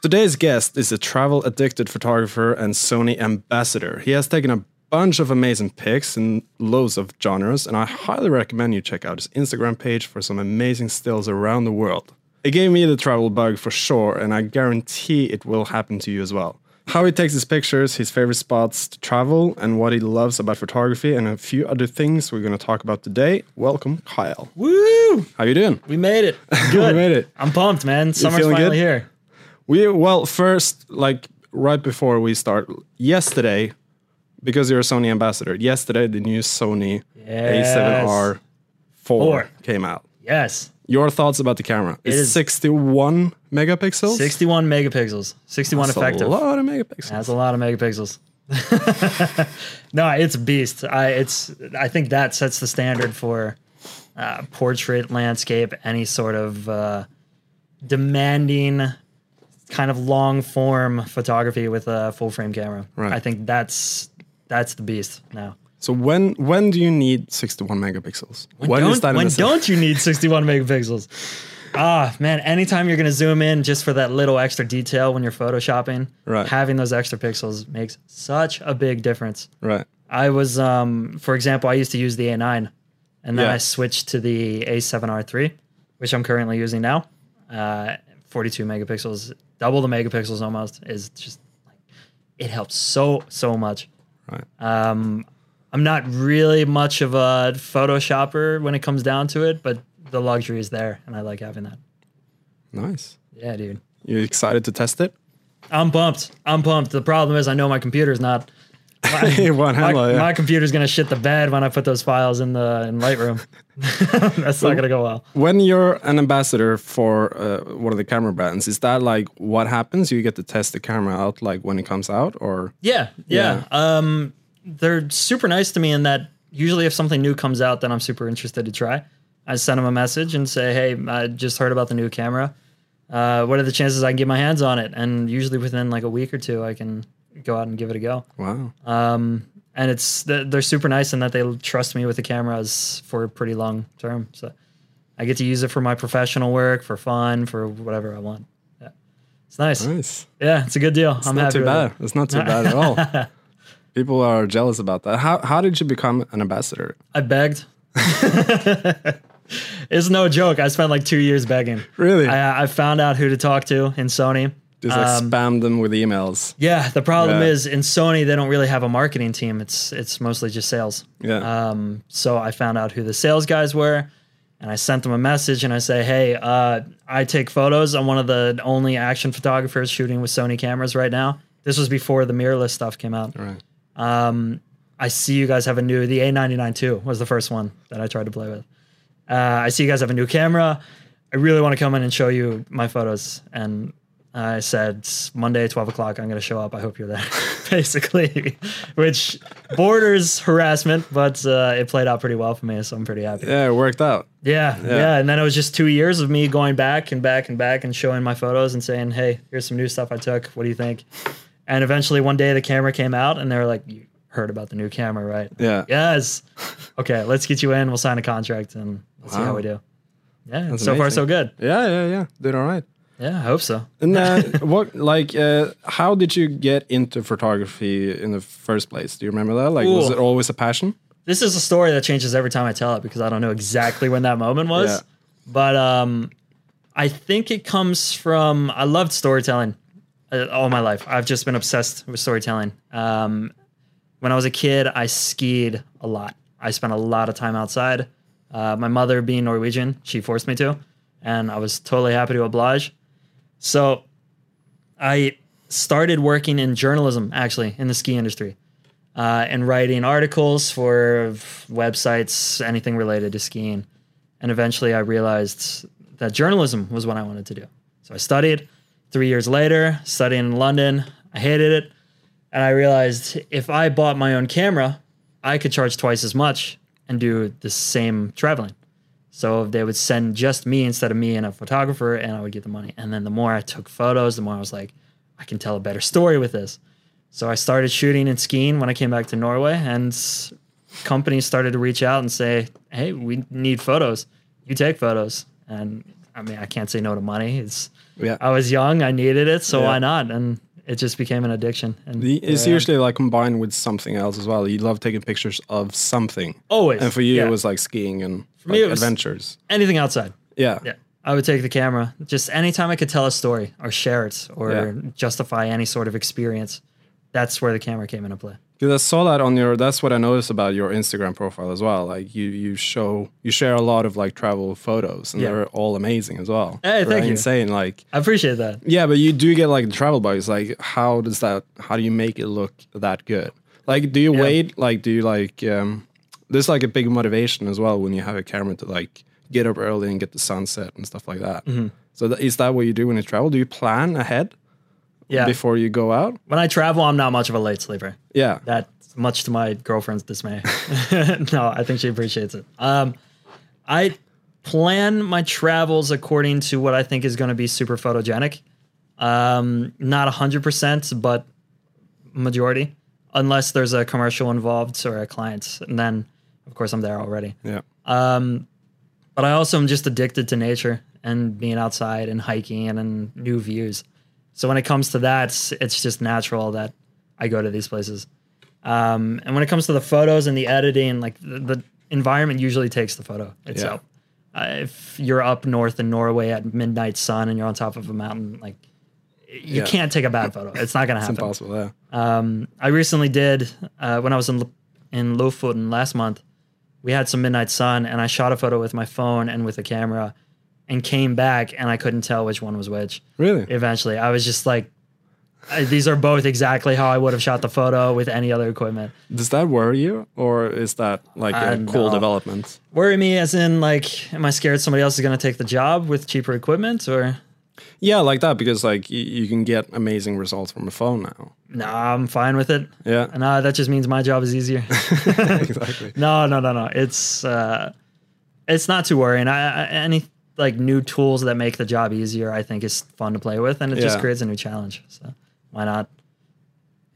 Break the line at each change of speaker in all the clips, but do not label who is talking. Today's guest is a travel addicted photographer and Sony ambassador. He has taken a bunch of amazing pics in loads of genres, and I highly recommend you check out his Instagram page for some amazing stills around the world. It gave me the travel bug for sure, and I guarantee it will happen to you as well. How he takes his pictures, his favorite spots to travel, and what he loves about photography, and a few other things we're going to talk about today. Welcome, Kyle.
Woo!
How you doing?
We made it. Good.
We made it.
I'm pumped, man. Summer's
feeling good?
finally here.
We well, first, like right before we start, yesterday, because you're a Sony ambassador, yesterday the new Sony A7R 4
Four.
came out.
Yes.
Your thoughts about the camera? It's
is-
61 megapixels.
61 megapixels. 61
That's
effective.
A lot of megapixels.
That's a lot of megapixels. no, it's a beast. I it's I think that sets the standard for uh, portrait, landscape, any sort of uh, demanding kind of long form photography with a full frame camera.
Right.
I think that's that's the beast now.
So when when do you need 61 megapixels? When
don't,
is that
when
necessary?
don't you need 61 megapixels? Ah, man, anytime you're going to zoom in just for that little extra detail when you're photoshopping,
Right.
having those extra pixels makes such a big difference.
Right.
I was, um, for example, I used to use the A9 and then
Yeah.
I switched to the A7R3, which I'm currently using now. Uh, 42 megapixels, double the megapixels almost, is just like, it helps so, so much.
Right.
Um, I'm not really much of a photoshopper when it comes down to it, but the luxury is there, and I like having that.
Nice.
Yeah, dude.
You excited to test it?
I'm pumped. I'm pumped. The problem is, I know my computer's not.
Hey, one
My,
handle, yeah.
my computer's gonna shit the bed when I put those files in the in Lightroom. That's not gonna go well.
when you're an ambassador for uh, one of the camera brands, is that like what happens? You get to test the camera out like when it comes out, or
Yeah, yeah. Um, they're super nice to me in that usually if something new comes out that I'm super interested to try, I send them a message and say, "Hey, I just heard about the new camera. Uh, what are the chances I can get my hands on it?" And usually within like a week or two, I can go out and give it a go.
wow,
Um, and it's they're they're super nice in that they trust me with the cameras for a pretty long term. So I get to use it for my professional work, for fun, for whatever I want. Yeah, it's nice.
nice.
Yeah, it's a good deal. I'm
not
happy
too
with
bad.
it.
It's not too bad at all. People are jealous about that. How how did you become an ambassador?
I begged. it's no joke. I spent like two years begging.
Really?
I, I found out who to talk to in Sony.
Just like spam them with emails.
Yeah, the problem
Yeah.
is in Sony they don't really have a marketing team. It's it's mostly just sales.
Yeah,
Um, so I found out who the sales guys were, and I sent them a message and I say, hey, uh, I take photos. I'm one of the only action photographers shooting with Sony cameras right now. This was before the mirrorless stuff came out.
right.
Um, I see you guys have a new the A99 II was the first one that I tried to play with. Uh, I see you guys have a new camera. I really want to come in and show you my photos. And I said "S- Monday, twelve o'clock. I'm going to show up. I hope you're there, basically, which borders harassment, but uh, it played out pretty well for me, so I'm pretty happy.
Yeah, it worked out.
Yeah, yeah, And then it was just two years of me going back and back and back and showing my photos and saying, "Hey, here's some new stuff I took. What do you think?" And eventually, one day, the camera came out, and they were like, "You heard about the new camera, right?"
Yeah,
Yes. Okay, let's get you in. We'll sign a contract and let's see
Wow.
how we do. Yeah. so far,
amazing.
so good.
yeah, yeah, yeah. Did all right.
Yeah, I hope so.
And uh, what like uh, how did you get into photography in the first place? Do you remember that? Like, was
Ooh.
it always a passion?
this is a story that changes every time I tell it because I don't know exactly when that moment was.
Yeah.
But um, I think it comes from I loved storytelling uh, all my life. I've just been obsessed with storytelling. Um, when I was a kid, I skied a lot. I spent a lot of time outside. Uh, my mother, being Norwegian, she forced me to, and I was totally happy to oblige. So I started working in journalism, actually, in the ski industry uh, and writing articles for websites, anything related to skiing. And eventually I realized that journalism was what I wanted to do. So I studied three years later, studying in London. I hated it. And I realized if I bought my own camera, I could charge twice as much and do the same traveling. So they would send just me instead of me and a photographer, and I would get the money. And then the more I took photos, the more I was like, I can tell a better story with this. So I started shooting and skiing when I came back to Norway, and s- companies started to reach out and say, "Hey, we need photos. You take photos." And I mean, I can't say no to money. It's
Yeah.
I was young, I needed it, so
Yeah.
why not? And it just became an addiction. And
The- It's
here I am.
usually like combined with something else as well. You love taking pictures of something.
always.
And for you,
yeah.
it was like skiing and
me,
like,
it was-
adventures.
anything outside.
Yeah.
Yeah. I would take the camera just anytime I could tell a story or share it or
Yeah.
justify any sort of experience. That's where the camera came into play.
Because I saw that on your. That's what I noticed about your Instagram profile as well. Like you, you show, you share a lot of like travel photos, and
Yeah.
they're all amazing as well.
Hey,
They're
thank you.
Insane, like
I appreciate that.
yeah, but you do get like the travel bugs. Like how does that? How do you make it look that good? Like do you wait? Like do you like? um There's like a big motivation as well when you have a camera to like get up early and get the sunset and stuff like that.
Mm-hmm.
So that, is that what you do when you travel? Do you plan ahead
Yeah.
before you go out?
When I travel, I'm not much of a late sleeper.
Yeah.
That much to my girlfriend's dismay. no, I think she appreciates it. Um, I plan my travels according to what I think is going to be super photogenic. Um, not 100%, but majority, unless there's a commercial involved or a client. And then, of course, I'm there already.
Yeah.
But I also am just addicted to nature and being outside and hiking and, and new views. So when it comes to that, it's- it's just natural that I go to these places. Um, and when it comes to the photos and the editing, like the, the environment usually takes the photo itself. Uh, if you're up north in Norway at midnight sun and you're on top of a mountain, like you
Yeah.
can't take a bad photo. It's not going to happen.
Impossible. Yeah.
Um, I recently did uh, when I was in Lo- in Lofoten last month. We had some midnight sun, and I shot a photo with my phone and with a camera, and came back, and I couldn't tell which one was which.
Really?
Eventually, I was just like, "Uh, "These are both exactly how I would have shot the photo with any other equipment."
Does that worry you, or is that like a
Uh,
cool
no.
development?
Worry me, as in, like, am I scared somebody else is going to take the job with cheaper equipment, or
Yeah, like that because like you, you can get amazing results from a phone now.
no? I'm fine with it.
Yeah,
No, that just means my job is easier.
exactly.
No, no, no, no. It's uh, it's not too worrying. I, I any like new tools that make the job easier, I think, is fun to play with, and it just
Yeah.
creates a new challenge. So why not?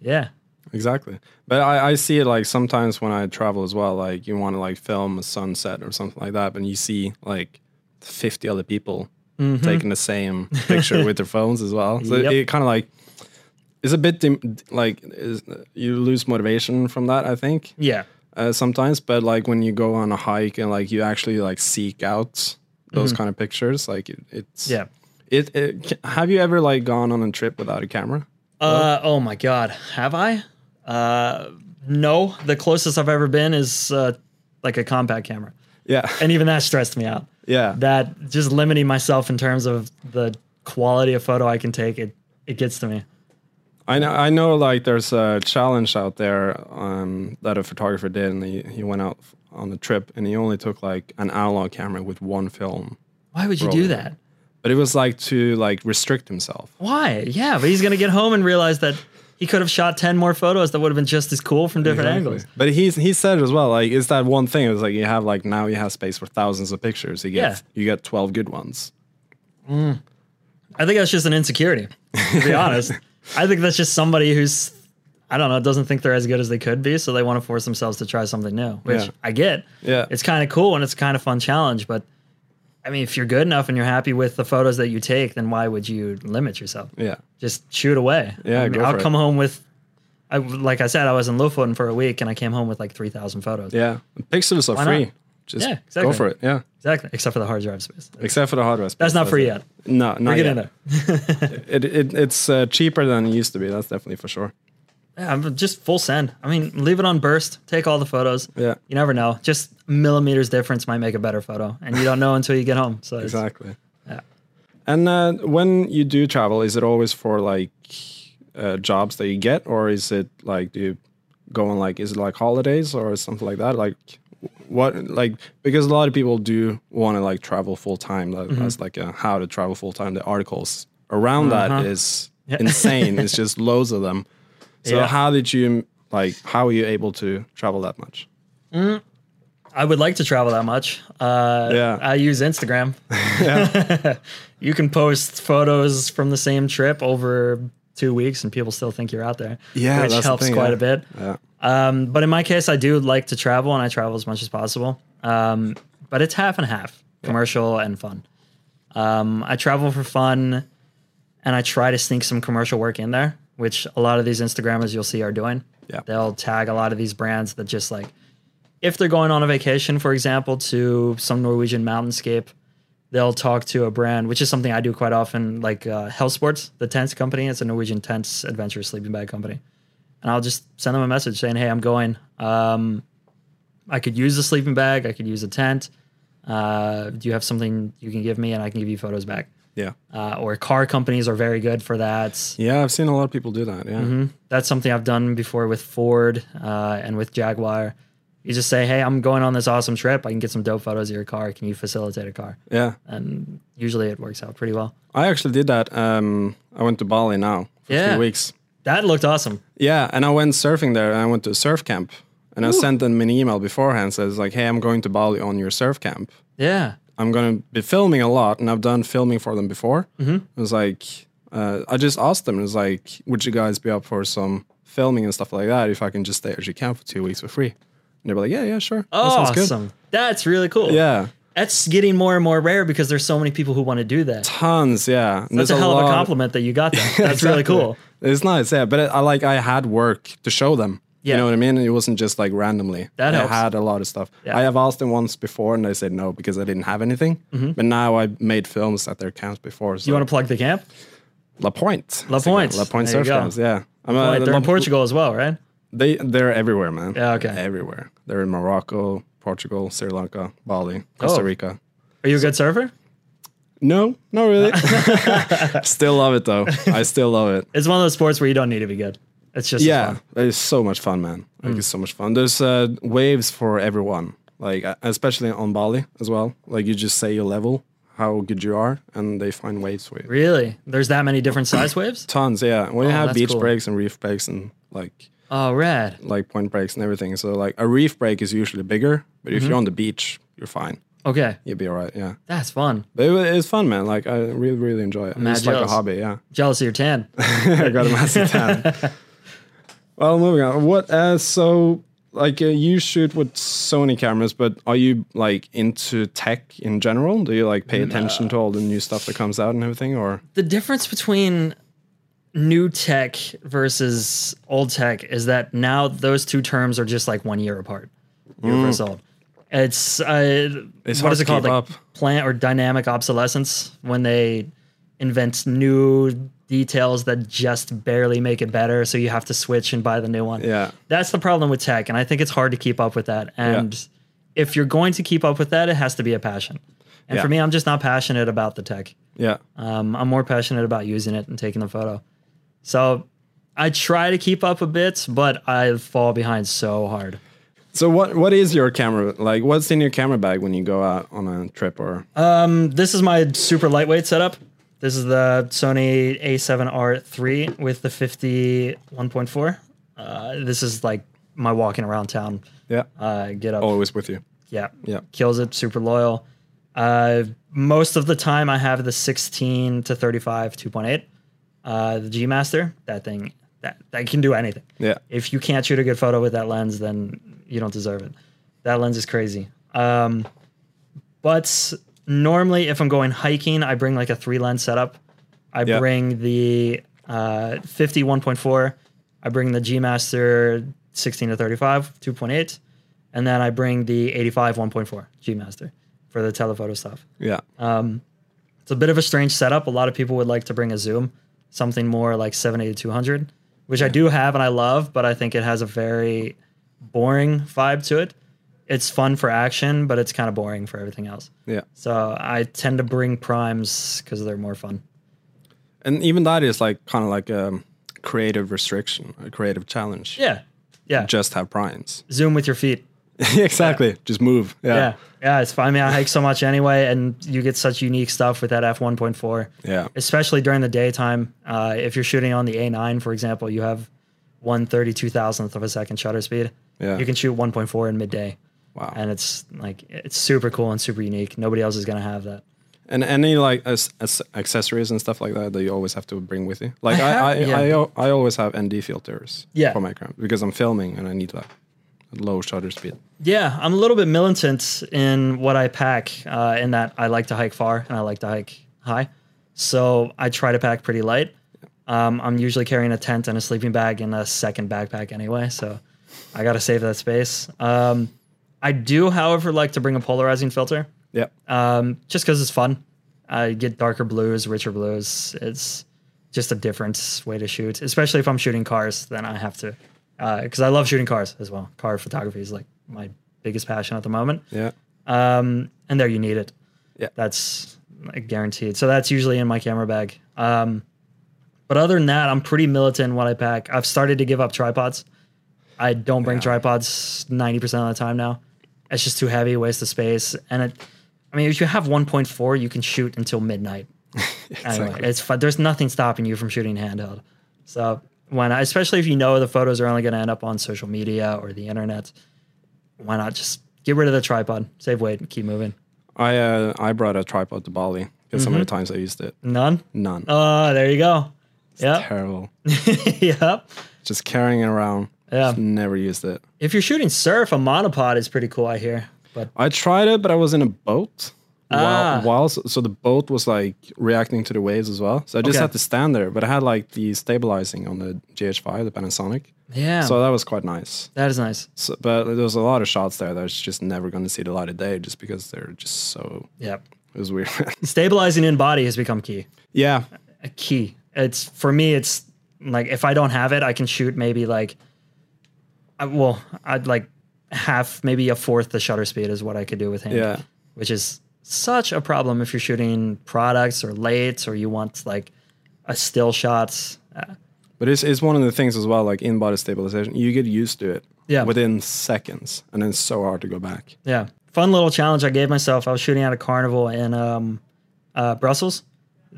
Yeah,
Exactly. But I, I see it like sometimes when I travel as well, like you want to like film a sunset or something like that, and you see like 50 other people taking the same picture with their phones as well. So
Mm-hmm. Yep.
it kind of like, it's a bit dim, like is, you lose motivation from that, I think.
yeah,
uh, sometimes but like when you go on a hike and like you actually like seek out those kind of pictures like it, it's
Mm-hmm. yeah.
it, it c- have you ever like gone on a trip without a camera
Uh, oh my god, have I? Uh, no. The closest I've ever been is uh, like a compact camera,
yeah
and even that stressed me out.
yeah
That just limiting myself in terms of the quality of photo I can take. It it gets to me.
i know i know like there's a challenge out there um that a photographer did and he, he went out f- on a trip and he only took like an analog camera with one film
Why would you do
Rolling.
that?
but it was like to like restrict himself
Why? Yeah, but he's gonna get home and realize that he could have shot ten more photos that would have been just as cool from different angles.
But he's he said as well, like it's that one thing. It was like you have like now you have space for thousands of pictures. You get
Yeah.
you get twelve good ones.
I think that's just an insecurity. To be honest, I think that's just somebody who's I don't know doesn't think they're as good as they could be, so they want to force themselves to try something new, which
Yeah.
I get.
Yeah.
it's kind of cool and it's kind of fun challenge, but. I mean, if you're good enough and you're happy with the photos that you take, then why would you limit yourself?
Yeah.
just shoot away.
Yeah,
I mean,
go
I'll
for it.
come home with, I, like I said, I was in Lofoten for a week and I came home with like 3,000 photos.
Yeah. And pixels are
Why
free.
not?
Just
Yeah, exactly.
go for it. Yeah.
Exactly. Except for the hard drive space.
Except for the hardware. space.
That's not free yet.
No, not
We're
yet.
getting there.
It, it it's uh, cheaper than it used to be. That's definitely for sure.
Yeah, I'm just full send. I mean, leave it on burst. Take all the photos.
Yeah.
You never know. Just millimeters difference might make a better photo, and you don't know until you get home. So it's-
Exactly.
Yeah.
And uh, when you do travel, is it always for like uh, jobs that you get, or is it like do you go on like is it like holidays or something like that? Like what like because a lot of people do want to like travel full time.
Mm-hmm.
That, That's like a how to travel full time. The articles around that
Uh-huh.
is insane. it's just loads of them. So
Yeah.
how did you like? How were you able to travel that much?
I would like to travel that much. Uh,
Yeah.
I use Instagram. you can post photos from the same trip over two weeks, and people still think you're out there.
Yeah,
which
that's the
helps
thing,
quite
yeah.
a bit.
Yeah.
Um, but in my case, I do like to travel, and I travel as much as possible. Um, but it's half and half, commercial and fun. Um, I travel for fun and I try to sneak some commercial work in there, which a lot of these Instagrammers you'll see are doing.
Yeah.
They'll tag a lot of these brands that just like, if they're going on a vacation, for example, to some Norwegian mountainscape, they'll talk to a brand, which is something I do quite often, like uh, Hellsports, the tents company. It's a Norwegian tents adventure sleeping bag company. And I'll just send them a message saying, hey, I'm going. Um, I could use a sleeping bag. I could use a tent. Uh, do you have something you can give me? And I can give you photos back
Yeah.
uh, or car companies are very good for that.
Yeah, I've seen a lot of people do that. Yeah.
That's something I've done before with Ford uh, and with Jaguar. You just say, "Hey, I'm going on this awesome trip. I can get some dope photos of your car. Can you facilitate a car?"
Yeah.
And usually it works out pretty well.
I actually did that. Um, I went to Bali now for
Yeah.
three weeks.
That looked awesome.
Yeah, and I went surfing there, and I went to a surf camp, and I sent them an email beforehand. Says like, "Hey, I'm going to Bali on your surf camp.
Yeah,
I'm going to be filming a lot, and I've done filming for them before." Mm-hmm. It was like, uh, I just asked them. It was like, "Would you guys be up for some filming and stuff like that if I can just stay at your camp for two weeks for free?" And they were like, "Yeah, yeah, sure. That sounds good."
awesome. That's really cool.
Yeah,
that's getting more and more rare because there's so many people who want to do that.
tons. Yeah, And
That's
there's
a hell of a
lot-
compliment that you got. That. That's really
Exactly.
cool.
It's nice, yeah. But it, I like I had work to show them.
Yeah.
You know what I mean? It wasn't just like randomly.
That
I
helps.
had a lot of stuff.
Yeah.
I have asked them once before, and they said no because I didn't have anything. But now I made films at their camps before. So
Mm-hmm. You want to plug the camp?
La Pointe,
La
Instagram,
Pointe.
La Pointe
There you
surf
go.
camps. Yeah, I'm a-
Wait, they're
La-
in Portugal as well, right?
They they're everywhere, man.
Yeah, okay.
Everywhere. They're in Morocco, Portugal, Sri Lanka, Bali, Costa
Oh.
Rica.
Are you a good surfer?
No, not really. still love it though. I still love it.
It's one of those sports where you don't need to be good. It's just
Yeah,
yeah.
it's so much fun, man.
Hmm.
Like it's so much fun. There's uh, waves for everyone, like uh, especially on Bali as well. Like you just say your level, how good you are, and they find waves for you.
Really? There's that many different size waves?
Tons, yeah. When you have
Oh, that's
beach
cool.
breaks and reef breaks and like
Oh, rad.
like point breaks and everything. So like a reef break is usually bigger, but
Mm-hmm.
if you're on the beach, you're fine.
Okay.
You'll be all right. Yeah,
That's fun.
but it, wa- it's fun, man. Like I really really enjoy it.
mad
It's like a
jealous.
hobby. Yeah,
Jealous of your tan.
I got a massive tan. well, moving on. What? Uh, so, like, uh, you shoot with Sony cameras, but are you like into tech in general? Do you like pay attention to all the new stuff that comes out and everything, or
the difference between new tech versus old tech is that now those two terms are just like one year apart, year versus old. It's, uh,
Mm. It's
what
hard
is it
to
called?
keep up.
Like plant or dynamic obsolescence when they invent new details that just barely make it better, so you have to switch and buy the new one.
Yeah.
that's the problem with tech, and I think it's hard to keep up with that. And if you're going to keep up with that, it has to be a passion. And
Yeah.
for me, I'm just not passionate about the tech.
yeah,
Um, I'm more passionate about using it and taking the photo. So I try to keep up a bit, but I fall behind so hard.
So, what what is your camera like? What's in your camera bag when you go out on a trip, or
Uh, This is my super lightweight setup. This is the Sony A7R3 with the 50 1.4. Uh, this is like my walking around town.
yeah,
Uh, get up.
always with you?
Yeah.
Oh, Yeah.
Kills it. Super loyal. Uh, most of the time, I have the 16 to 35 2.8. Uh, the G Master, that thing, that, that can do anything.
Yeah,
If you can't shoot a good photo with that lens, then you don't deserve it. That lens is crazy. Um, but normally, if I'm going hiking, I bring like a three lens setup. I
Yeah.
bring the uh, 50 1.4. I bring the G Master 16 to 35 2.8, and then I bring the 85 1.4 G Master for the telephoto stuff.
yeah,
Uh, It's a bit of a strange setup. A lot of people would like to bring a zoom, something more like 780 200, which I do have and I love, but I think it has a very boring vibe to it. It's fun for action, but it's kind of boring for everything else.
yeah.
So I tend to bring primes because they're more fun.
And even that is like kind of like a creative restriction, a creative challenge.
Yeah. Yeah.
Just have primes.
Zoom with your feet.
exactly. Just move.
Yeah. Yeah. It's fun. I mean, I hike so much anyway, and you get such unique stuff with that F1.4.
Yeah. yeah.
especially during the daytime. Uh, if you're shooting on the A9, for example, you have one thirty-two thousandth of a second shutter speed.
Yeah.
You can shoot 1.4 in midday,
Wow.
and it's like it's super cool and super unique. Nobody else is gonna have that.
And any like as, as accessories and stuff like that that you always have to bring with you. Like
I have-
I I,
yeah.
I, al- I always have ND filters
Yeah.
for my camera because I'm filming and I need that low shutter speed.
Yeah, I'm a little bit militant in what I pack, uh, in that I like to hike far and I like to hike high. So I try to pack pretty light. Um, I'm usually carrying a tent and a sleeping bag and a second backpack anyway, so I gotta save that space. Um, I do, however, like to bring a polarizing filter,
Yeah.
um, just because it's fun. I get darker blues, richer blues. It's just a different way to shoot, especially if I'm shooting cars. Then I have to, because I love shooting cars as well. Car photography is like my biggest passion at the moment
Yeah.
um, and there you need it.
Yeah.
that's like, guaranteed. So that's usually in my camera bag. Um, but other than that, I'm pretty militant in what I pack. I've started to give up tripods. I don't bring
Yeah.
tripods 90% of the time now. It's just too heavy, waste of space, and it. I mean, if you have 1.4, you can shoot until midnight. Anyway,
Exactly.
it's fun. There's nothing stopping you from shooting handheld. So why not? Especially if you know the photos are only going to end up on social media or the internet. Why not just get rid of the tripod, save weight, and keep moving?
I uh, I brought a tripod to Bali because so
Mm-hmm.
many times I used it.
None.
None.
Oh, there you go. Yep.
Terrible.
yep.
Just carrying it around.
Yeah.
Just never used it.
If you're shooting surf, a monopod is pretty cool. I hear, but
I tried it, but I was in a boat.
Ah.
While, while so the boat was like reacting to the waves as well. So I just
Okay.
had to stand there, but I had like the stabilizing on the GH5, the Panasonic.
yeah,
So that was quite nice.
that is nice.
So, but there was a lot of shots there that's just never going to see the light of day, just because they're just so.
Yep.
It was weird.
Stabilizing in body has become key.
yeah,
a key. It's for me. It's like if I don't have it, I can shoot maybe like, I, well, I'd like half, maybe a fourth the shutter speed is what I could do with hand,
Yeah.
which is such a problem if you're shooting products or lates or you want like a still shot. Uh,
but it's it's one of the things as well. Like in body stabilization, you get used to it.
Yeah.
Within seconds, and then it's so hard to go back.
yeah, fun little challenge I gave myself. I was shooting at a carnival in um, uh, Brussels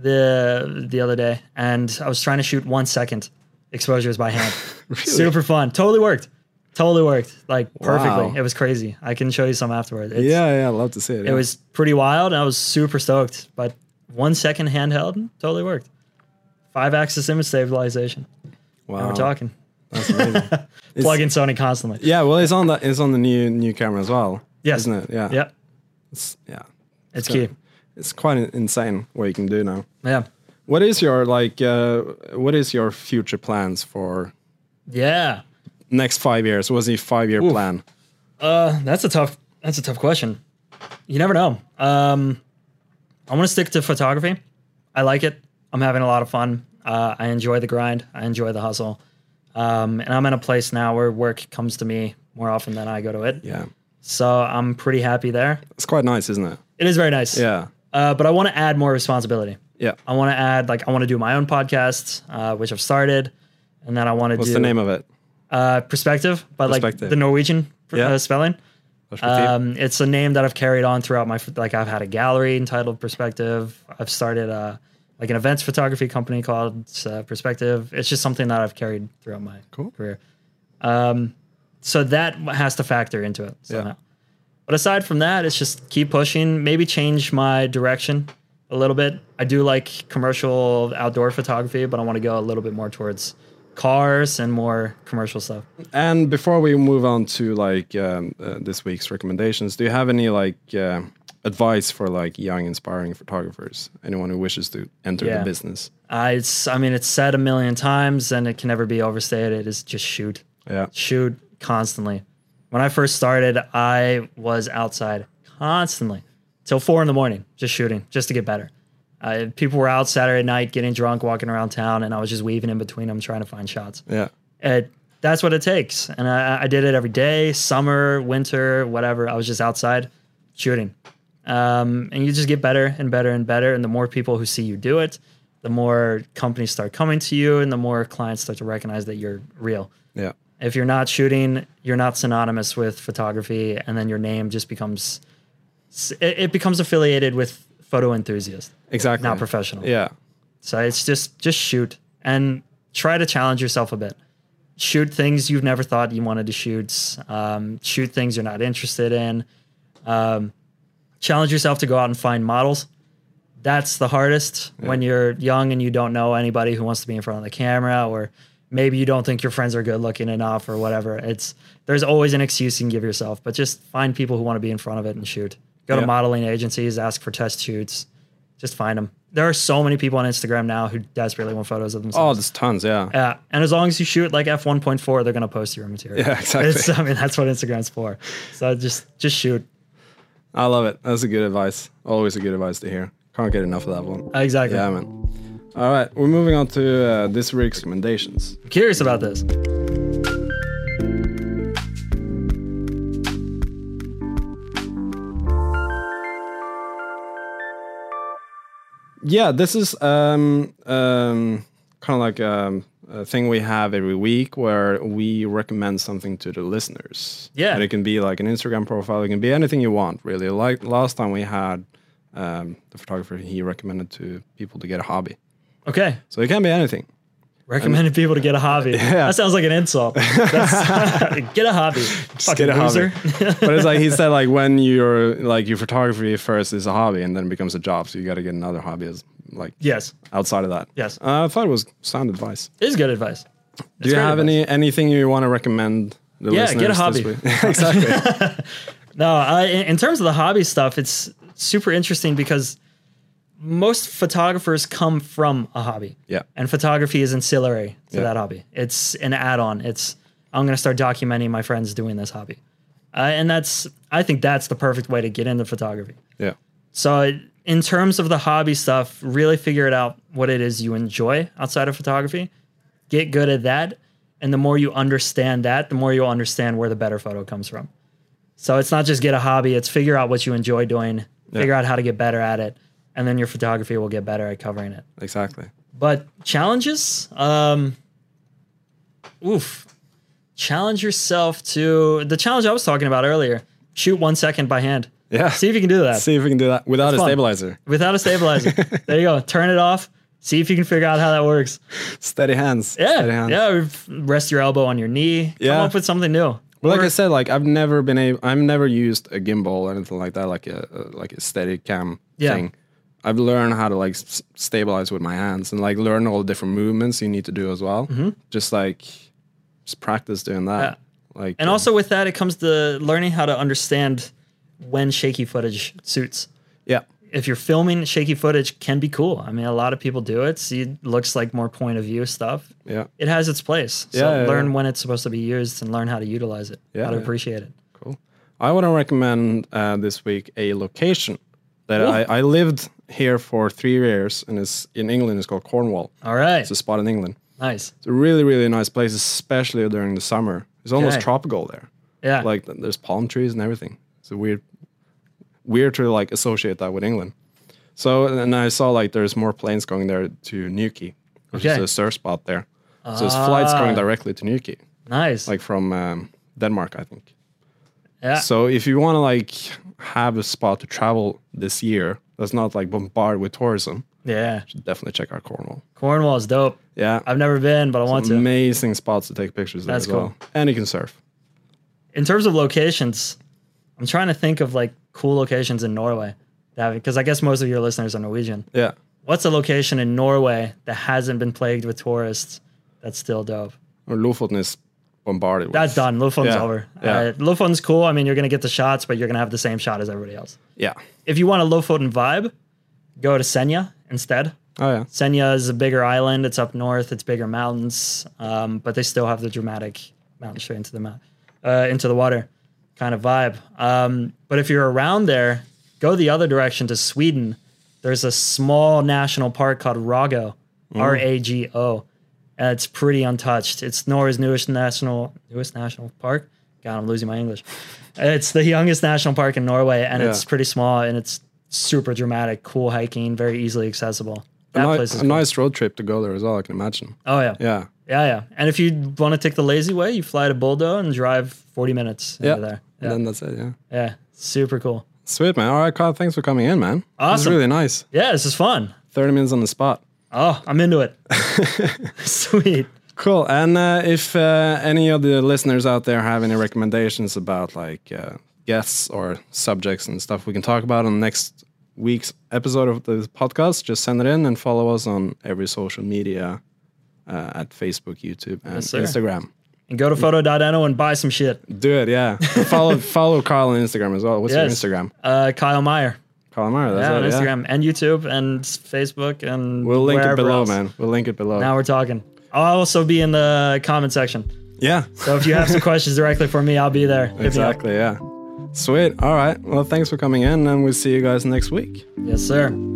the the other day, and I was trying to shoot one second exposures by hand. Super fun. Totally worked. Totally worked. Like perfectly.
Wow.
It was crazy. I can show you some afterward. It's,
Yeah, yeah, I love to see it.
It was pretty wild. And I was super stoked. But one second handheld, totally worked. Five axis image stabilization.
wow.
We're talking.
That's amazing.
Plug in Sony constantly.
yeah, well, it's on the it's on the new new camera as well.
Yes.
isn't it? Yeah,
Yep.
It's, yeah.
It's
So-
key.
It's quite insane what you can do now.
Yeah.
What is your like? Uh, what is your future plans for
Yeah.
next five years? What's the five year plan?
Uh, that's a tough. That's a tough question. You never know. Um, I want to stick to photography. I like it. I'm having a lot of fun. Uh, I enjoy the grind. I enjoy the hustle. Um, and I'm in a place now where work comes to me more often than I go to it.
Yeah,
So I'm pretty happy there.
it's quite nice, isn't it?
It is very nice.
Yeah,
Uh, but I want to add more responsibility.
yeah.
I want to add like I want to do my own podcast, uh, which I've started, and then I want to
What's
do
the name of it?
uh, perspective, but like
Perspective.
the Norwegian pr-
Yeah.
uh, spelling.
Perspektiv?
Um, it's a name that I've carried on throughout my like I've had a gallery entitled Perspective. I've started a like an events photography company called uh, Perspective. It's just something that I've carried throughout my
Cool.
career. Um, so that has to factor into it somehow.
Yeah.
But aside from that, it's just keep pushing. Maybe change my direction a little bit. I do like commercial outdoor photography, but I want to go a little bit more towards cars and more commercial stuff.
And before we move on to like um, uh, this week's recommendations, do you have any like uh, advice for like young aspiring photographers? Anyone who wishes to enter
Yeah.
the business?
I, Uh, it's, I mean, it's said a million times and it can never be overstated. Is just shoot,
Yeah,
shoot constantly. When I first started, I was outside constantly till four in the morning, just shooting, just to get better. I, people were out Saturday night getting drunk, walking around town, and I was just weaving in between them trying to find shots.
yeah,
It, that's what it takes. And I, I did it every day, summer, winter, whatever. I was just outside shooting. Um, and you just get better and better and better. And the more people who see you do it, the more companies start coming to you and the more clients start to recognize that you're real.
yeah.
If you're not shooting, you're not synonymous with photography. And then your name just becomes, it, it becomes affiliated with photo enthusiast,
Exactly.
not professional.
Yeah,
So it's just just shoot and try to challenge yourself a bit. Shoot things you've never thought you wanted to shoot. Um, shoot things you're not interested in. Um, challenge yourself to go out and find models. That's the hardest when you're young and you don't know anybody who wants to be in front of the camera, or maybe you don't think your friends are good looking enough, or whatever. It's there's always an excuse you can give yourself, but just find people who want to be in front of it and shoot. Go
Yeah.
to modeling agencies, ask for test shoots Just find them. There are so many people on Instagram now who desperately want photos of
Oh,
themselves.
there's tons. Yeah.
yeah, Uh, and as long as you shoot like f one point four, they're gonna post your material.
Yeah, exactly.
It's, I mean, that's what Instagram's for. So just just shoot. uh,
I love it. That's a good advice. Always a good advice to hear. Can't get enough of that one.
Exactly.
Yeah, man. All right, we're moving on to uh, this week's recommendations.
I'm curious about this.
Yeah, this is um, um, kind of like um, a thing we have every week where we recommend something to the listeners.
Yeah.
And it can be like an Instagram profile, it can be anything you want, really. Like last time we had um, the photographer, he recommended to people to get a hobby.
Okay,
So it can be anything.
recommended people to get a hobby. That sounds like an insult. That's- get a hobby. Fucking
get a
loser.
hobby. but it's like he said, like when you're like your photography first is a hobby and then it becomes a job, so you got to get another hobby as like
yes,
outside of that.
Yes.
uh, I thought it was sound advice.
it is good advice.
Do you
great
have any anything you want to recommend? The
Yeah, get a
listeners
hobby.
this week? exactly.
No, I, in in terms of the hobby stuff, it's super interesting because most photographers come from a hobby.
Yeah.
And photography is ancillary to
Yeah.
that hobby. It's an add-on. It's I'm going to start documenting my friends doing this hobby, uh, and that's I think that's the perfect way to get into photography.
Yeah.
So I- in terms of the hobby stuff, really figure it out what it is you enjoy outside of photography. Get good at that, and the more you understand that, the more you'll understand where the better photo comes from. So it's not just get a hobby; it's figure out what you enjoy doing, figure out how to get better at it, and then your photography will get better at covering it.
Exactly.
But challenges, um, oof, challenge yourself to the challenge I was talking about earlier. Shoot one second by hand.
Yeah.
See if you can do that
See if we can do that without a
fun.
stabilizer.
without a stabilizer. there you go. Turn it off. See if you can figure out how that works.
Steady hands. Steady
Yeah,
hands.
yeah. Rest your elbow on your knee.
Yeah.
Come up with something new.
But like
Or-
I said, like I've never been able, I've never used a gimbal or anything like that, like a, a like a steady cam
Yeah.
thing. I've learned how to like s- stabilize with my hands and like learn all the different movements you need to do as well.
Mm-hmm.
Just like just practice doing that. Like
and
uh,
also with that, it comes to learning how to understand when shaky footage suits.
yeah,
If you're filming, shaky footage can be cool. I mean, a lot of people do it. See, it looks like more point of view stuff.
yeah,
It has its place. So
Yeah, yeah,
learn
yeah.
when it's supposed to be used and learn how to utilize it.
Yeah,
how to
yeah.
appreciate it.
cool. I want to recommend uh, this week a location that I, I lived here for three years and it's in England. It's called Cornwall.
All right.
It's a spot in England.
nice.
It's a really really nice place, especially during the summer. It's almost
Okay.
tropical there.
Yeah.
like th- there's palm trees and everything. It's a weird, weird to like associate that with England. So and then I saw like there's more planes going there to Newquay, which is
Okay.
a surf spot there. So there's flights going
Ah.
directly to Newquay,
nice.
like from um, Denmark, I think.
yeah.
So if you want to like have a spot to travel this year that's not like bombarded with tourism,
yeah.
definitely check out Cornwall.
Cornwall is dope.
Yeah,
I've never been, but I want to.
amazing spots to take pictures there
That's
as well, and you can surf.
in terms of locations, I'm trying to think of like cool locations in Norway. Because I guess most of your listeners are Norwegian.
Yeah,
What's a location in Norway that hasn't been plagued with tourists that's still dope?
or Lofoten is bombarded. with-
That's done. Lofoten's
Yeah,
over.
yeah.
Uh, Lofoten's cool. I mean, you're going to get the shots, but you're going to have the same shot as everybody else.
yeah.
If you want a Lofoten vibe, go to Senja instead.
Oh yeah.
Senja is a bigger island. It's up north. It's bigger mountains, um, but they still have the dramatic mountain straight into the mount, uh, into the water kind of vibe. Um, but if you're around there, go the other direction to Sweden. There's a small national park called Rago, R A G O. And it's pretty untouched. It's Norway's newest national newest national park. God, I'm losing my English. It's the youngest national park in Norway, and it's
Yeah.
pretty small and it's super dramatic, cool hiking, very easily accessible. That
a, ni-
place
a
is cool.
nice road trip to go there as well. I can imagine.
Oh yeah. yeah,
Yeah,
yeah, And if you want to take the lazy way, you fly to Boldo and drive forty minutes
yeah.
into there.
And
Yeah,
then that's it. Yeah,
yeah, super cool.
sweet man. All right, Kyle. Thanks for coming in, man. It's
Awesome.
really nice.
Yeah, this is fun.
Thirty minutes on the spot.
Oh, I'm into it. Sweet.
Cool. And uh, if uh, any of the listeners out there have any recommendations about like uh, guests or subjects and stuff we can talk about on next week's episode of the podcast, just send it in and follow us on every social media uh, at Facebook, YouTube, and
Yes, sir.
Instagram.
And go to photo.no and buy some shit.
Do it. Yeah. follow follow Kyle on Instagram as well. What's
Yes.
your Instagram?
Uh, Kyle Meyer.
Calamari. That's
yeah, on
it,
Instagram and YouTube and Facebook and
We'll link it
wherever
below,
else.
man. We'll link it below.
Now we're talking. I'll also be in the comment section.
yeah.
So if you have some questions directly for me, I'll be there. Hit me up.
Exactly. Yeah. Sweet. All right. Well, thanks for coming in, and we'll see you guys next week.
Yes, sir.